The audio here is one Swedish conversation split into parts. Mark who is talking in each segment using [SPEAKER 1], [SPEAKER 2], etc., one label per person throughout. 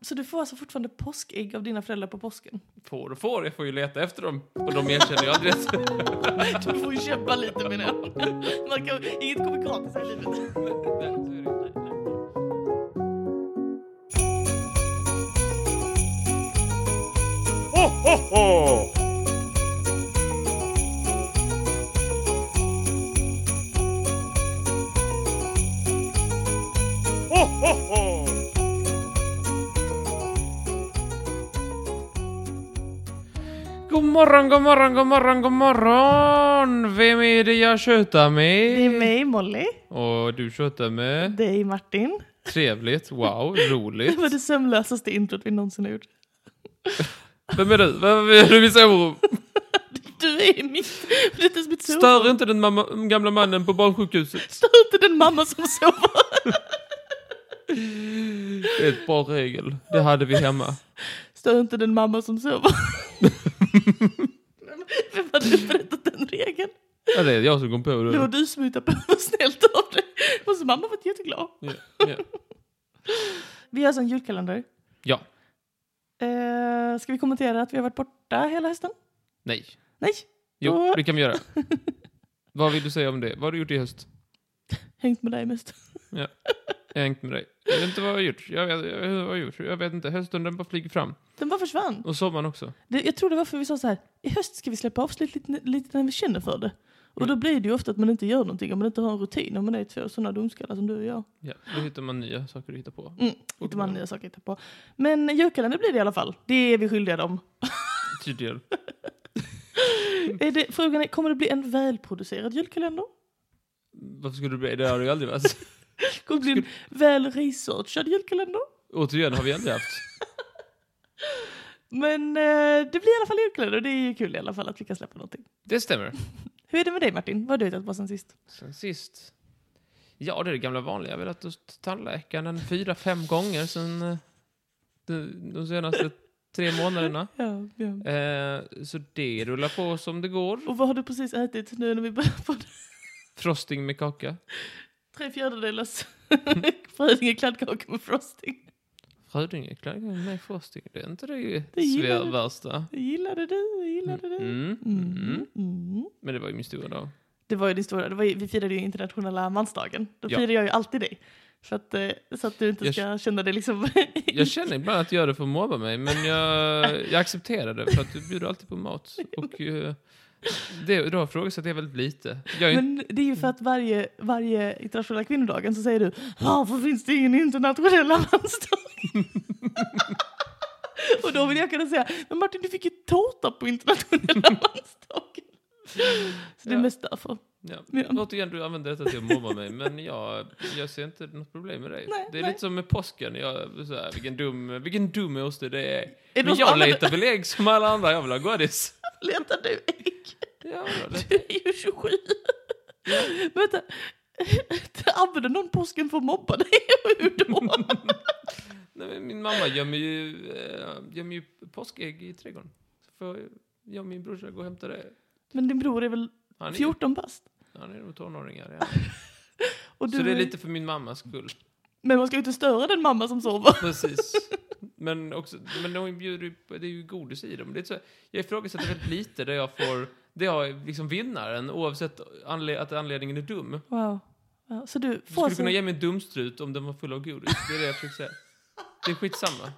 [SPEAKER 1] Så du får alltså fortfarande påskägg av dina föräldrar på påsken?
[SPEAKER 2] Får och får, jag får ju leta efter dem. Och de erkänner ju aldrig att...
[SPEAKER 1] Du får ju kämpa lite menar jag. Man kan, inget kommer gratis i livet.
[SPEAKER 3] Ho, ho, ho! Ho, ho, ho!
[SPEAKER 2] God morgon, god morgon, god morgon, god morgon! Vem är det jag tjötar med?
[SPEAKER 1] Det är mig Molly.
[SPEAKER 2] Och du tjötar med?
[SPEAKER 1] Det är Martin.
[SPEAKER 2] Trevligt, wow,
[SPEAKER 1] Det
[SPEAKER 2] roligt.
[SPEAKER 1] var det sömnlösaste introt vi någonsin har gjort.
[SPEAKER 2] Vem är du? Vem är du i sovrum?
[SPEAKER 1] Du är mitt... Det är inte ens mitt sovrum.
[SPEAKER 2] Stör inte den mamma, gamla mannen på barnsjukhuset.
[SPEAKER 1] Stör inte den mamma som sover.
[SPEAKER 2] Det är ett bra regel. Det hade vi hemma.
[SPEAKER 1] Stör inte den mamma som sover. Vem hade berättat den regeln?
[SPEAKER 2] Ja, det är jag som kom på det.
[SPEAKER 1] Det var du som hittade på vad snällt av dig. Och så mamma var jätteglad.
[SPEAKER 2] Ja, ja.
[SPEAKER 1] Vi gör så en julkalender.
[SPEAKER 2] ja.
[SPEAKER 1] Eh, ska vi kommentera att vi har varit borta hela hösten?
[SPEAKER 2] Nej.
[SPEAKER 1] Nej,
[SPEAKER 2] Jo,
[SPEAKER 1] Åh.
[SPEAKER 2] det kan vi göra. Vad vill du säga om det? Vad har du gjort i höst?
[SPEAKER 1] hängt med dig mest.
[SPEAKER 2] Jag har hängt med dig. Jag vet inte vad jag har gjort. Jag vet, jag, vet vad jag har gjort. jag vet inte. Hösten den bara flyger fram.
[SPEAKER 1] Den bara försvann.
[SPEAKER 2] Och sommaren också.
[SPEAKER 1] Det, jag tror det var för vi sa så här, i höst ska vi släppa avsnitt lite, lite när vi känner för det. Och då blir det ju ofta att man inte gör någonting om man inte har en rutin, om man är två sådana dumskallar som du och jag.
[SPEAKER 2] Ja, då hittar man nya saker att hitta på.
[SPEAKER 1] Mm, inte man nya saker att hitta på. Men julkalender blir det i alla fall. Det är vi skyldiga dem.
[SPEAKER 2] Tydligen. Mm.
[SPEAKER 1] Är det, frågan är, kommer det bli en välproducerad julkalender?
[SPEAKER 2] Varför skulle du bli det? har du ju aldrig varit.
[SPEAKER 1] Kommer det bli en välresearchad julkalender?
[SPEAKER 2] Återigen har vi aldrig haft.
[SPEAKER 1] Men eh, det blir i alla fall julkalender och det är ju kul i alla fall att vi kan släppa någonting. Det...
[SPEAKER 2] Det stämmer.
[SPEAKER 1] Hur är det med dig Martin? Vad har du hittat på sen sist?
[SPEAKER 2] Sen sist. Ja, det är det gamla vanliga. Jag har velat hos tandläkaren en fyra, fem gånger sen eh, de, de senaste tre månaderna.
[SPEAKER 1] Ja, ja.
[SPEAKER 2] Eh, så det rullar på som det går.
[SPEAKER 1] Och vad har du precis ätit nu när vi börjar på
[SPEAKER 2] Frosting med kaka.
[SPEAKER 1] Tre fjärdedelars Frödinge kladdkaka med frosting.
[SPEAKER 2] Rödinge klagar med frosting. Det är inte det,
[SPEAKER 1] Det gillar
[SPEAKER 2] det
[SPEAKER 1] du.
[SPEAKER 2] värsta.
[SPEAKER 1] Det gillade du, det gillade du.
[SPEAKER 2] Mm. Mm.
[SPEAKER 1] Mm, mm.
[SPEAKER 2] Men det var ju min stora dag.
[SPEAKER 1] Det var ju din stora, det var ju, vi firade ju internationella mansdagen. Då
[SPEAKER 2] Ja.
[SPEAKER 1] firar jag ju alltid dig. För att, eh, så att du inte
[SPEAKER 2] Jag
[SPEAKER 1] ska känna dig liksom...
[SPEAKER 2] Jag känner ibland att jag gör det för att mobba mig, men jag, jag accepterar det för att du bjuder alltid på mat. Och eh, det, då ifrågasätter jag väldigt lite. Jag är ju
[SPEAKER 1] Men det är ju för att varje, varje internationella kvinnodagen så säger du Varför finns det ingen internationella mansdag? Och då vill jag kunna säga Men Martin du fick ju tårta på internationella mansdagen. Så det är
[SPEAKER 2] Ja.
[SPEAKER 1] mest därför.
[SPEAKER 2] Ja.
[SPEAKER 1] Ja.
[SPEAKER 2] Återigen, du använder detta till att mobba mig, men jag, jag ser inte något problem med det.
[SPEAKER 1] Nej,
[SPEAKER 2] det är
[SPEAKER 1] nej.
[SPEAKER 2] lite som med påsken, jag, så här, vilken dum, vilken dum oste det är.
[SPEAKER 1] det
[SPEAKER 2] men
[SPEAKER 1] någon som
[SPEAKER 2] jag
[SPEAKER 1] använder-
[SPEAKER 2] letar väl ägg som alla andra, jag vill ha godis.
[SPEAKER 1] Letar du ägg?
[SPEAKER 2] Ja, jag letar-
[SPEAKER 1] Du är ju 27. Men vänta. Använder någon påsken för att mobba dig? Och Hur då?
[SPEAKER 2] nej, men min mamma gömmer ju, äh, gömmer ju påskägg i trädgården. Så får jag och min brorsa gå och hämta det.
[SPEAKER 1] Men din bror är väl
[SPEAKER 2] Han är,
[SPEAKER 1] 14 bast?
[SPEAKER 2] han är nog tonåringar, ja.
[SPEAKER 1] Ah, Och
[SPEAKER 2] Så det är lite för min mammas skull.
[SPEAKER 1] Men man ska ju inte störa den mamma som sover.
[SPEAKER 2] Precis. Men, också, men de bjuder ju på, det är ju godis i dem. Det är så, jag ifrågasätter väldigt lite där jag får, det jag liksom vinnaren oavsett anle, att anledningen är dum.
[SPEAKER 1] Wow. Ja, så du
[SPEAKER 2] Du
[SPEAKER 1] får
[SPEAKER 2] skulle
[SPEAKER 1] så...
[SPEAKER 2] kunna ge mig en dumstrut om den var full av godis. Det är det jag försöker säga. Det är skitsamma.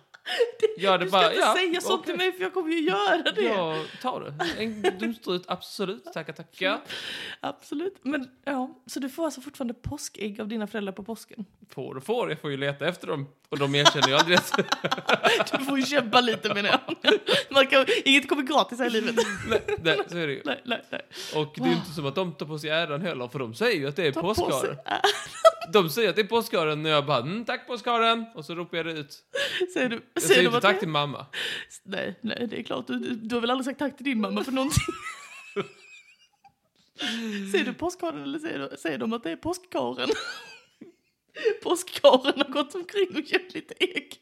[SPEAKER 2] Jag hade
[SPEAKER 1] Du ska
[SPEAKER 2] bara,
[SPEAKER 1] inte
[SPEAKER 2] ja,
[SPEAKER 1] säga sånt till
[SPEAKER 2] okej.
[SPEAKER 1] mig för jag kommer ju göra det.
[SPEAKER 2] Jag tar det. En dumstrut, absolut. Tackar, tackar.
[SPEAKER 1] Absolut. Men, ja. Så du får alltså fortfarande påskägg av dina föräldrar på påsken?
[SPEAKER 2] Får och får, jag får ju leta efter dem. Och de erkänner ju aldrig att
[SPEAKER 1] Du får ju kämpa lite menar jag. Man kan, inget kommer gratis här i livet.
[SPEAKER 2] Nej, nej, så är det ju.
[SPEAKER 1] Nej, nej, nej.
[SPEAKER 2] Och det är ju inte som att de tar på sig äran heller, för de säger ju att det är
[SPEAKER 1] Ta äh, på sig-
[SPEAKER 2] påskharen. De säger att det är påskharen och jag bara mm, tack påskharen och så ropar jag det ut.
[SPEAKER 1] Säger du,
[SPEAKER 2] Jag
[SPEAKER 1] säger
[SPEAKER 2] säger
[SPEAKER 1] de
[SPEAKER 2] inte
[SPEAKER 1] att
[SPEAKER 2] tack
[SPEAKER 1] det?
[SPEAKER 2] till mamma.
[SPEAKER 1] Nej, nej, det är klart. Du, du- du har väl aldrig sagt tack till din mamma för någonting? säger du påskharen eller säger, du, säger de att det är påskkaren? Påskkaren har gått omkring och gömt lite ägg.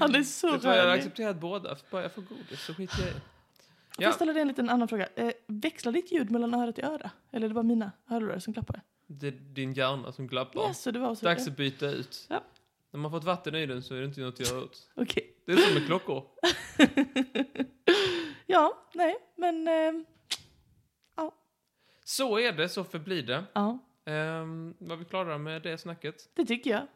[SPEAKER 1] Han är så
[SPEAKER 2] Jag tror jag har
[SPEAKER 1] rörlig.
[SPEAKER 2] accepterat båda, för bara jag får godis så skiter jag i det.
[SPEAKER 1] Får jag
[SPEAKER 2] Ja,
[SPEAKER 1] ställa dig en liten annan fråga? Eh, växlar ditt ljud mellan öra till öra? Eller är det bara mina hörlurar som klappar?
[SPEAKER 2] det är din hjärna som
[SPEAKER 1] Ja,
[SPEAKER 2] glappar.
[SPEAKER 1] så det var så.
[SPEAKER 2] Dags
[SPEAKER 1] det.
[SPEAKER 2] att byta ut.
[SPEAKER 1] Ja.
[SPEAKER 2] När man fått vatten i den så är det inte något att göra åt.
[SPEAKER 1] Okej.
[SPEAKER 2] Det är som med klockor.
[SPEAKER 1] ja, nej, men... ehm, ja,
[SPEAKER 2] Så är det, så förblir det.
[SPEAKER 1] ja,
[SPEAKER 2] Um, var vi klara med det snacket?
[SPEAKER 1] det tycker jag.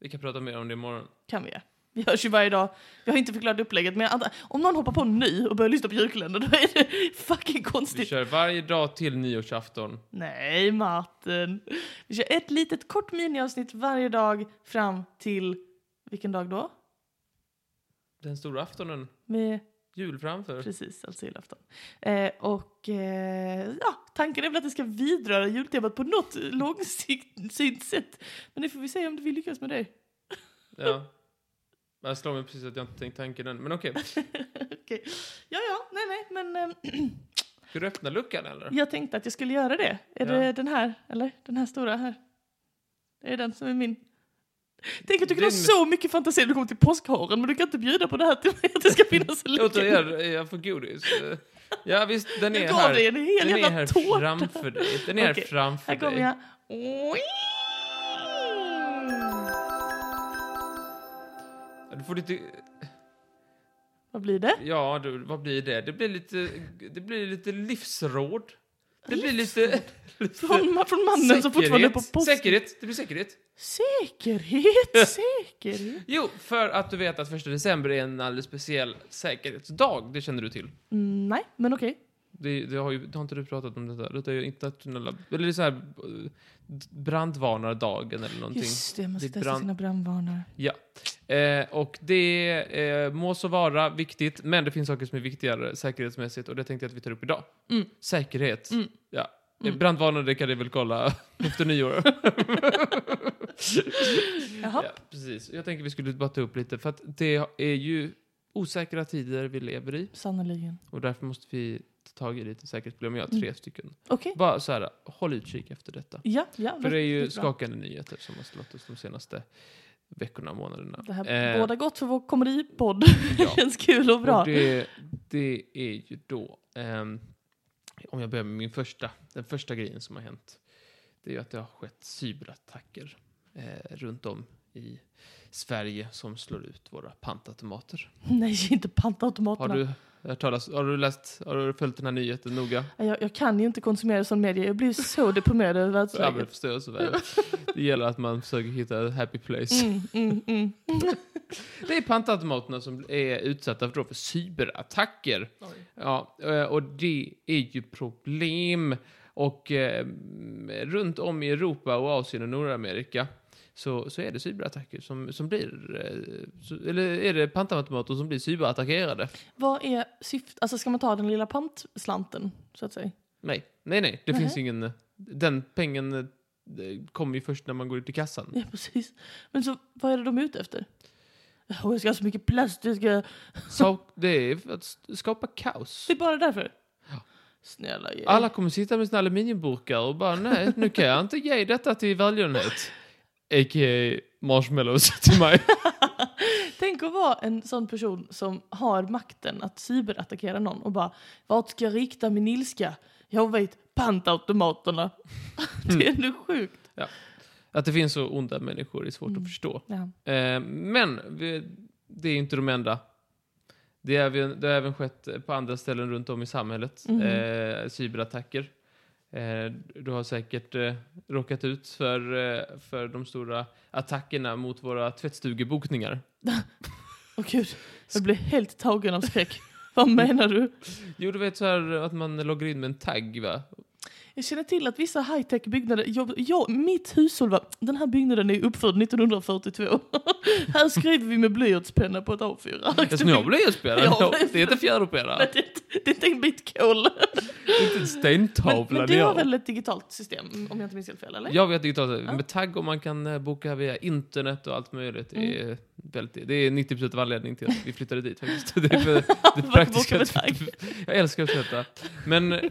[SPEAKER 2] Vi kan prata mer om det imorgon.
[SPEAKER 1] Kan vi göra. Vi hörs ju varje dag. Jag har inte förklarat upplägget, men jag antar, om någon hoppar på nu och börjar lyssna på julkalendern, då är det fucking
[SPEAKER 2] Vi
[SPEAKER 1] konstigt.
[SPEAKER 2] kör varje dag till nyårsafton.
[SPEAKER 1] Nej, Martin. Vi kör ett litet kort miniavsnitt varje dag fram till... Vilken dag då?
[SPEAKER 2] Den stora aftonen.
[SPEAKER 1] Med
[SPEAKER 2] Jul framför.
[SPEAKER 1] Precis, alltså julafton. Eh, och eh, ja, tanken är väl att det ska vidröra jultemat på något långsiktigt sätt. Men det får vi se om vi lyckas med det.
[SPEAKER 2] Ja. Jag slår mig precis att jag inte tänkt tanken än. Men okej.
[SPEAKER 1] Okej. Ja, ja, nej, nej, men eh,
[SPEAKER 2] Ska du öppna luckan eller?
[SPEAKER 1] jag tänkte att jag skulle göra det. Är
[SPEAKER 2] Ja.
[SPEAKER 1] det den här, eller? Den här stora här? Det är den som är min. Tänk att du kan ha
[SPEAKER 2] Din-
[SPEAKER 1] så mycket fantasi när du kommer till påskharen, men du kan inte bjuda på det här till mig att det ska finnas en lucka.
[SPEAKER 2] Återigen är jag för godis. Eh, Ja visst, den är
[SPEAKER 1] Jag gav
[SPEAKER 2] här.
[SPEAKER 1] dig en hel
[SPEAKER 2] den är
[SPEAKER 1] jävla
[SPEAKER 2] här
[SPEAKER 1] tårta.
[SPEAKER 2] framför dig. Den är
[SPEAKER 1] Okej,
[SPEAKER 2] här framför
[SPEAKER 1] Här kommer
[SPEAKER 2] dig.
[SPEAKER 1] jag.
[SPEAKER 2] Du får lite...
[SPEAKER 1] Vad blir det?
[SPEAKER 2] Ja, du, vad blir det? Det blir lite, det blir lite livsråd. Det blir lite... lite
[SPEAKER 1] Från, från mannen som fortfarande är på post.
[SPEAKER 2] Säkerhet. Det blir säkerhet.
[SPEAKER 1] Säkerhet, säkerhet.
[SPEAKER 2] Jo, för att du vet att första december är en alldeles speciell säkerhetsdag. Det känner du till.
[SPEAKER 1] Mm, nej, men okej.
[SPEAKER 2] Det, det, har ju, det har inte du pratat om detta. Detta är ju internationella... Eller det är så här... eh, Brandvarnardagen eller någonting.
[SPEAKER 1] Just det, man ska
[SPEAKER 2] Ditt
[SPEAKER 1] testa
[SPEAKER 2] brand-
[SPEAKER 1] sina brandvarnare.
[SPEAKER 2] Ja. Eh, och det eh, må så vara viktigt, men det finns saker som är viktigare säkerhetsmässigt och det tänkte jag att vi tar upp idag.
[SPEAKER 1] Mm.
[SPEAKER 2] Säkerhet.
[SPEAKER 1] Mm.
[SPEAKER 2] Ja.
[SPEAKER 1] Mm.
[SPEAKER 2] Mm. Brandvarnare kan du väl kolla efter nyår.
[SPEAKER 1] Jaha.
[SPEAKER 2] ja, precis. Jag tänker vi skulle bara ta upp lite, för att det är ju osäkra tider vi lever i
[SPEAKER 1] Sannerligen.
[SPEAKER 2] och därför måste vi ta tag i lite säkerhetsproblem. Jag
[SPEAKER 1] Mm.
[SPEAKER 2] har tre stycken.
[SPEAKER 1] Okej.
[SPEAKER 2] Bara så här, håll utkik efter detta.
[SPEAKER 1] Ja, ja.
[SPEAKER 2] För det är ju
[SPEAKER 1] väldigt bra.
[SPEAKER 2] skakande nyheter som har slått oss de senaste veckorna och månaderna.
[SPEAKER 1] Det här
[SPEAKER 2] Eh,
[SPEAKER 1] båda gott för vår komedipodd.
[SPEAKER 2] ja.
[SPEAKER 1] Känns kul och bra.
[SPEAKER 2] Och det, det är ju då, ehm, om jag börjar med min första, den första grejen som har hänt, det är ju att det har skett cyberattacker eh, runt om i Sverige som slår ut våra pantautomater.
[SPEAKER 1] Nej, inte
[SPEAKER 2] Har
[SPEAKER 1] pantautomaterna.
[SPEAKER 2] du, hört talas, har du läst, har du följt den här nyheten noga?
[SPEAKER 1] Jag, jag kan ju inte konsumera sån media. Jag blir så deprimerad över
[SPEAKER 2] Ja, men
[SPEAKER 1] världsläget.
[SPEAKER 2] förstår jag så väl. Det gäller att man försöker hitta a happy place.
[SPEAKER 1] Mm, mm, mm.
[SPEAKER 2] Det är pantautomaterna som är utsatta för, då för cyberattacker. Ja, eh, och det är ju problem. Och eh, runt om i Europa och Asien och Nordamerika så, så är det cyberattacker som, som blir... Eh, så, eller är det pantautomater som blir cyberattackerade?
[SPEAKER 1] Vad är syftet? Alltså ska man ta den lilla pantslanten, så att säga?
[SPEAKER 2] Nej, nej, nej. Det
[SPEAKER 1] Nähä.
[SPEAKER 2] finns ingen... Den pengen eh, kommer ju först när man går ut i kassan.
[SPEAKER 1] Ja, precis. Men så, vad är det de är ute efter? Åh, jag ska ha så mycket plast. Jag ska...
[SPEAKER 2] Så det är för att s- skapa kaos.
[SPEAKER 1] Det är bara därför?
[SPEAKER 2] Ja.
[SPEAKER 1] Snälla ge.
[SPEAKER 2] Alla kommer sitta med sina aluminiumburkar och bara nej, nu kan jag inte ge detta till välgörenhet. A.k.a. marshmallows till mig.
[SPEAKER 1] Tänk att vara en sån person som har makten att cyberattackera någon och bara vart ska jag rikta min ilska? Jag vet, pantautomaterna. det är ändå sjukt.
[SPEAKER 2] Att det finns så onda människor är svårt
[SPEAKER 1] Mm.
[SPEAKER 2] att förstå.
[SPEAKER 1] Ja.
[SPEAKER 2] Eh, men vi, det är inte de enda. Det, är, även- det har även skett på andra ställen runt om i samhället.
[SPEAKER 1] Mhm.
[SPEAKER 2] Eh, cyberattacker. Eh, du har säkert eh, råkat ut för, eh, för de stora attackerna mot våra tvättstugebokningar.
[SPEAKER 1] Åh gud, jag blev helt tagen av skräck. vad menar du?
[SPEAKER 2] Jo, du vet så här att man loggar in med en tagg, va?
[SPEAKER 1] Jag känner till att vissa high-tech byggnader, jag, jag, mitt hushåll var, den här byggnaden är uppförd 1942. här skriver vi med blyertspenna på ett A4.
[SPEAKER 2] Eftersom jag blev spelare.
[SPEAKER 1] Ja,
[SPEAKER 2] Ja,
[SPEAKER 1] men-
[SPEAKER 2] det är inte fjäderpelare.
[SPEAKER 1] Nej, det, är inte- det är inte en bit kol.
[SPEAKER 2] Det är inte en
[SPEAKER 1] Men,
[SPEAKER 2] stentavla.
[SPEAKER 1] men
[SPEAKER 2] det
[SPEAKER 1] du
[SPEAKER 2] är
[SPEAKER 1] har
[SPEAKER 2] jag.
[SPEAKER 1] väl ett digitalt system om jag inte minns helt fel? Eller?
[SPEAKER 2] Jag vet digitalt.
[SPEAKER 1] Ja.
[SPEAKER 2] Med tagg och man kan eh, boka via internet och allt möjligt. Det
[SPEAKER 1] Mm.
[SPEAKER 2] är, väldigt, det är 90% av anledningen till att vi flyttade dit faktiskt. Det är, för, det är
[SPEAKER 1] Varför
[SPEAKER 2] praktiskt.
[SPEAKER 1] boka med tagg?
[SPEAKER 2] Jag älskar att tvätta. Men...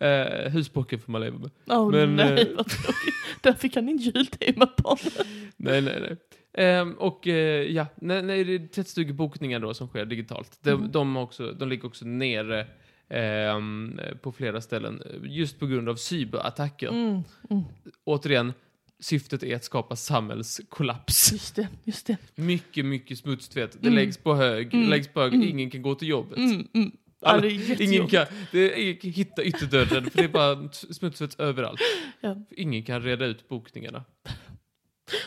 [SPEAKER 2] eh, husbocken får man leva med.
[SPEAKER 1] Åh
[SPEAKER 2] Men,
[SPEAKER 1] nej,
[SPEAKER 2] eh,
[SPEAKER 1] vad tråkigt. Där fick han in jultemabarn.
[SPEAKER 2] Nej, nej, nej. Ehm, och eh, ja, nej, nej, det är tvättstugebokningar då som sker digitalt. De,
[SPEAKER 1] Mm.
[SPEAKER 2] de, har också, de ligger också nere ehm, på flera ställen just på grund av cyberattacker.
[SPEAKER 1] Mm, mm.
[SPEAKER 2] återigen, syftet är att skapa samhällskollaps.
[SPEAKER 1] Just det, just det.
[SPEAKER 2] Mycket, mycket smutstvätt. Det läggs på hög, läggs på hög. Ingen kan gå till jobbet.
[SPEAKER 1] Mm, mm. Ja,
[SPEAKER 2] Alla,
[SPEAKER 1] det är jättejobbigt.
[SPEAKER 2] ingen, kan, det är, ingen kan hitta ytterdörren för det är bara t- smutsvett överallt.
[SPEAKER 1] Ja. Typ
[SPEAKER 2] Ingen kan reda ut bokningarna.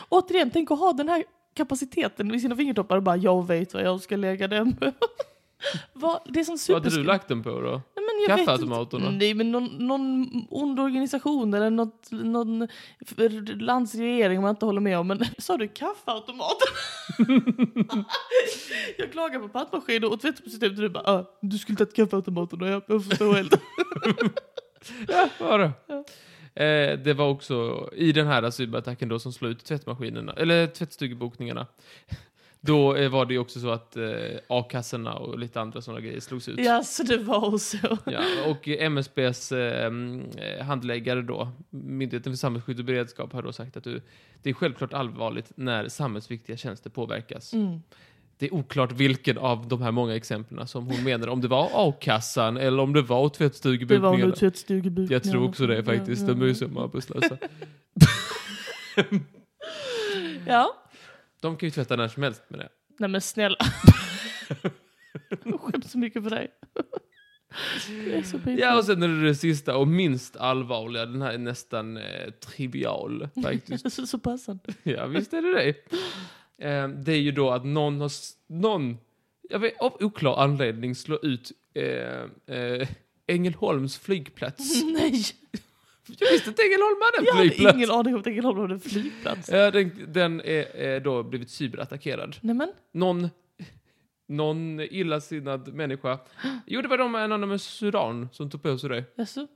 [SPEAKER 1] Återigen, tänk att ha den här kapaciteten i sina fingertoppar och bara jag vet vad jag ska lägga dem. vad, det är som
[SPEAKER 2] Vad hade
[SPEAKER 1] superskri-
[SPEAKER 2] du lagt den på då?
[SPEAKER 1] Nej, men jag vet
[SPEAKER 2] Kaffeautomaterna?
[SPEAKER 1] inte. Mm, Nej, men någon, någon ond organisation eller något, någon f- landsregering man inte håller med om. Men sa du kaffeautomater? jag klagar på pantmaskiner och tvättprostitut och du bara ah, du skulle tagit kaffeautomaterna. Jag, jag förstår helt.
[SPEAKER 2] Ja, vad då? Eh, det var också i den här cyberattacken då som slog ut tvättmaskinerna, eller tvättstugebokningarna. Då eh, var det ju också så att eh, a-kassorna och lite andra sådana grejer slogs ut.
[SPEAKER 1] ja, så det var så.
[SPEAKER 2] Ja, och MSBs eh, mm, eh, handläggare då, Myndigheten för samhällsskydd och beredskap, har då sagt att du, det är självklart allvarligt när samhällsviktiga tjänster påverkas.
[SPEAKER 1] Mm.
[SPEAKER 2] Det är oklart vilken av de här många exemplen som hon menar, om det var a-kassan eller om det var
[SPEAKER 1] Det var
[SPEAKER 2] tvättstugebokningarna.
[SPEAKER 1] nog tvättstugebuk.
[SPEAKER 2] Jag tror också det faktiskt,
[SPEAKER 1] Ja,
[SPEAKER 2] de är ju så arbetslösa.
[SPEAKER 1] ja. ja.
[SPEAKER 2] De kan ju tvätta när som helst med det.
[SPEAKER 1] Nej men snälla. jag skäms så mycket för dig. Det är så pinsamt.
[SPEAKER 2] Ja, och sen är det det sista och minst allvarliga, den här är nästan eh, trivial faktiskt.
[SPEAKER 1] så, så passande.
[SPEAKER 2] ja, visst är det det. Eh, det är ju då att någon har, s- någon, jag vet, av oklar anledning slår ut eh, eh, Ängelholms flygplats.
[SPEAKER 1] Nej,
[SPEAKER 2] Jag visste att Ängelholm hade
[SPEAKER 1] jag
[SPEAKER 2] en
[SPEAKER 1] hade
[SPEAKER 2] flygplats.
[SPEAKER 1] ingen aning om att Ängelholm hade en flygplats.
[SPEAKER 2] Ja, den, den är eh, då blivit cyberattackerad.
[SPEAKER 1] Nej men,
[SPEAKER 2] någon, någon illasinnad människa. Jo, det var de med Anonymous Sudan som tog på sig det.
[SPEAKER 1] jaså?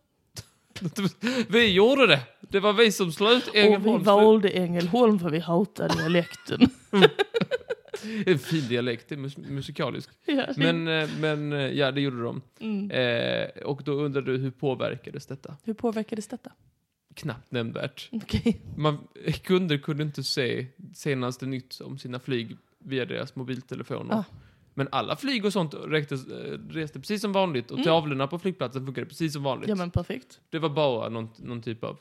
[SPEAKER 2] Vi gjorde det! Det var vi som slöt
[SPEAKER 1] Och vi
[SPEAKER 2] Ängelholms...
[SPEAKER 1] valde Ängelholm för vi hatar dialekten.
[SPEAKER 2] En fin dialekt, det är mus musikalisk.
[SPEAKER 1] ja, det-
[SPEAKER 2] Men, eh, men eh, ja, det gjorde de.
[SPEAKER 1] mm.
[SPEAKER 2] Eh, och då undrar du, hur påverkades detta?
[SPEAKER 1] Hur påverkades detta?
[SPEAKER 2] Knappt nämnvärt.
[SPEAKER 1] Okej.
[SPEAKER 2] Man, kunder kunde inte se senaste nytt om sina flyg via deras mobiltelefoner.
[SPEAKER 1] Ah.
[SPEAKER 2] Men alla flyg och sånt räktes, eh, reste precis som vanligt och
[SPEAKER 1] Mm.
[SPEAKER 2] tavlorna på flygplatsen funkade precis som vanligt.
[SPEAKER 1] Ja men perfekt.
[SPEAKER 2] Det var bara någon, någon typ av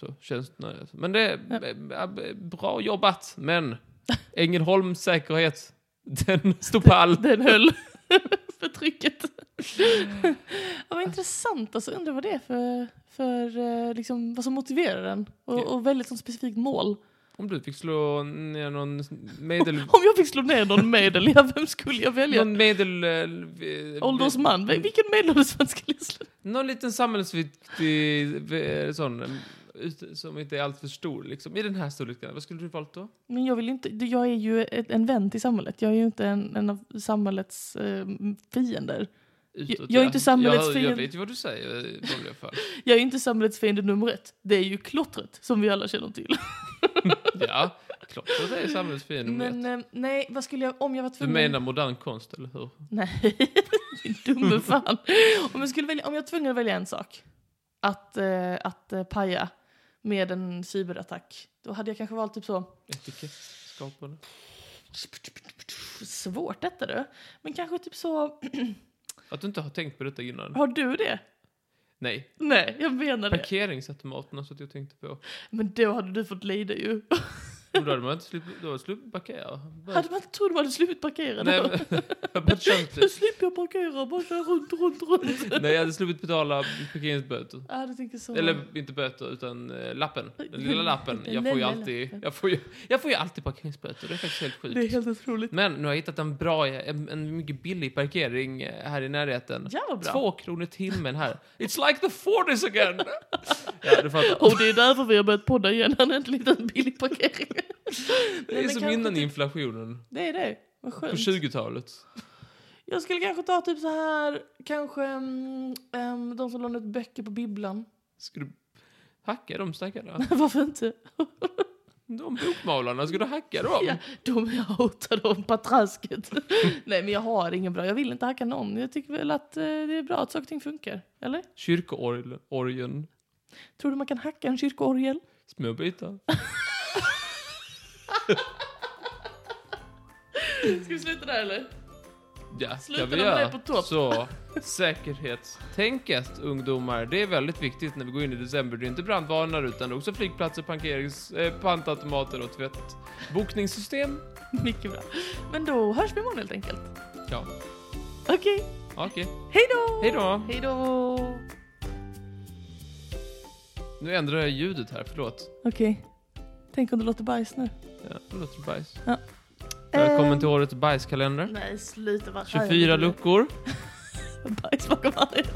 [SPEAKER 2] så, tjänstnöje. Men det är eh, bra jobbat. Men Ängelholms säkerhet, den stod pall.
[SPEAKER 1] Den höll för trycket. ja, vad intressant alltså. Undrar vad det är för, för eh, liksom, vad som motiverar den.
[SPEAKER 2] Ja.
[SPEAKER 1] Och, och väldigt som specifikt mål.
[SPEAKER 2] Om du fick slå ner någon medel...
[SPEAKER 1] Om jag fick slå ner någon medel, ja, vem skulle jag välja?
[SPEAKER 2] Någon medel... eh,
[SPEAKER 1] Åldersman? Vil- Vilken medelåldersman skulle jag slå?
[SPEAKER 2] Någon liten samhällsviktig eh, sån eh, ut- som inte är alltför stor liksom. I den här storleken, vad skulle du valt då?
[SPEAKER 1] Men jag vill ju inte, jag är ju ett- en vän till samhället. Jag är ju inte en, en av samhällets eh, fiender.
[SPEAKER 2] Utåt,
[SPEAKER 1] Jag- jag är inte samhällets
[SPEAKER 2] jag, jag
[SPEAKER 1] fiende.
[SPEAKER 2] vet ju vad du säger eh, i vanliga fall.
[SPEAKER 1] Jag är ju inte samhällets fiende nummer ett. Det är ju klottret, som vi alla känner till.
[SPEAKER 2] Ja, klart att det är samhällets fiende.
[SPEAKER 1] Men
[SPEAKER 2] Men,
[SPEAKER 1] eh, nej, vad skulle jag, om jag var
[SPEAKER 2] du
[SPEAKER 1] tvungen...
[SPEAKER 2] menar modern konst, eller hur?
[SPEAKER 1] Nej, din dumme fan. Om jag, skulle välja, om jag var tvungen att välja en sak att, eh, att eh, paja med en cyberattack, då hade jag kanske valt typ så...
[SPEAKER 2] Etikettskapande.
[SPEAKER 1] Svårt detta du. Men kanske typ så...
[SPEAKER 2] Att du inte har tänkt på detta innan?
[SPEAKER 1] Har du det?
[SPEAKER 2] Nej.
[SPEAKER 1] Nej, jag menar det.
[SPEAKER 2] Parkeringsautomaterna så att jag tänkte på.
[SPEAKER 1] Men då hade du fått lida ju.
[SPEAKER 2] Och då hade man inte sluppit, då hade man sluppit parkera. Bara-
[SPEAKER 1] Hade man inte trott man hade sluppit parkera
[SPEAKER 2] Nej,
[SPEAKER 1] då?
[SPEAKER 2] men- jag hade bara känt
[SPEAKER 1] Nu
[SPEAKER 2] det.
[SPEAKER 1] slipper jag parkera och bara köra runt, runt, runt.
[SPEAKER 2] Nej, jag hade sluppit betala parkeringsböter.
[SPEAKER 1] Ja, du tänker så.
[SPEAKER 2] Eller inte böter, utan eh, lappen. Den lilla lappen.
[SPEAKER 1] Den
[SPEAKER 2] Jag får ju
[SPEAKER 1] lilla
[SPEAKER 2] alltid,
[SPEAKER 1] lappen.
[SPEAKER 2] jag får ju, jag får ju alltid parkeringsböter. Det är faktiskt helt
[SPEAKER 1] Det är
[SPEAKER 2] sjukt.
[SPEAKER 1] helt otroligt.
[SPEAKER 2] Men nu har jag hittat en bra, en, en mycket billig parkering eh, här i närheten.
[SPEAKER 1] Ja, vad bra.
[SPEAKER 2] Två kronor timmen här. It's like the 40s again! ja, du fattar.
[SPEAKER 1] Och det är därför vi har börjat podda igen. Han är inte lite en billig parkering.
[SPEAKER 2] Det är som innan inflationen.
[SPEAKER 1] Det är det. Vad
[SPEAKER 2] På
[SPEAKER 1] typ- skönt.
[SPEAKER 2] 20-talet.
[SPEAKER 1] Jag skulle kanske ta typ så här, kanske mm, ehm, de som lånar ut böcker på bibblan.
[SPEAKER 2] Ska du hacka de stackarna?
[SPEAKER 1] Varför inte?
[SPEAKER 2] De bokmalarna, ska du hacka dem?
[SPEAKER 1] Ja, de är hotade om patrasket. Nej, men jag har ingen bra. Jag vill inte hacka någon. Jag tycker väl att eh, det är bra att saker och ting funkar. Eller?
[SPEAKER 2] Kyrkoorgeln,
[SPEAKER 1] Tror du man kan hacka en kyrkoorgel?
[SPEAKER 2] små bitar.
[SPEAKER 1] Ska vi sluta där eller?
[SPEAKER 2] Ja,
[SPEAKER 1] Slutar
[SPEAKER 2] ska vi
[SPEAKER 1] de
[SPEAKER 2] göra.
[SPEAKER 1] med på topp?
[SPEAKER 2] Så säkerhetstänket ungdomar, det är väldigt viktigt när vi går in i december. Det är inte brandvarnare utan det är också flygplatser, parkerings, eh, pantautomater och tvättbokningssystem.
[SPEAKER 1] Mycket bra. Men då hörs vi imorgon helt enkelt.
[SPEAKER 2] Ja,
[SPEAKER 1] Okej,
[SPEAKER 2] okej.
[SPEAKER 1] hej då!
[SPEAKER 2] Hej då!
[SPEAKER 1] Hej då!
[SPEAKER 2] Nu ändrar jag ljudet här, förlåt.
[SPEAKER 1] Okej. Tänk om det låter bajs nu.
[SPEAKER 2] Ja, det låter bajs.
[SPEAKER 1] Ja.
[SPEAKER 2] Välkommen
[SPEAKER 1] Ehm.
[SPEAKER 2] till årets bajskalender.
[SPEAKER 1] Nej, sluta vara
[SPEAKER 2] 24 luckor.
[SPEAKER 1] Bajs bakom varje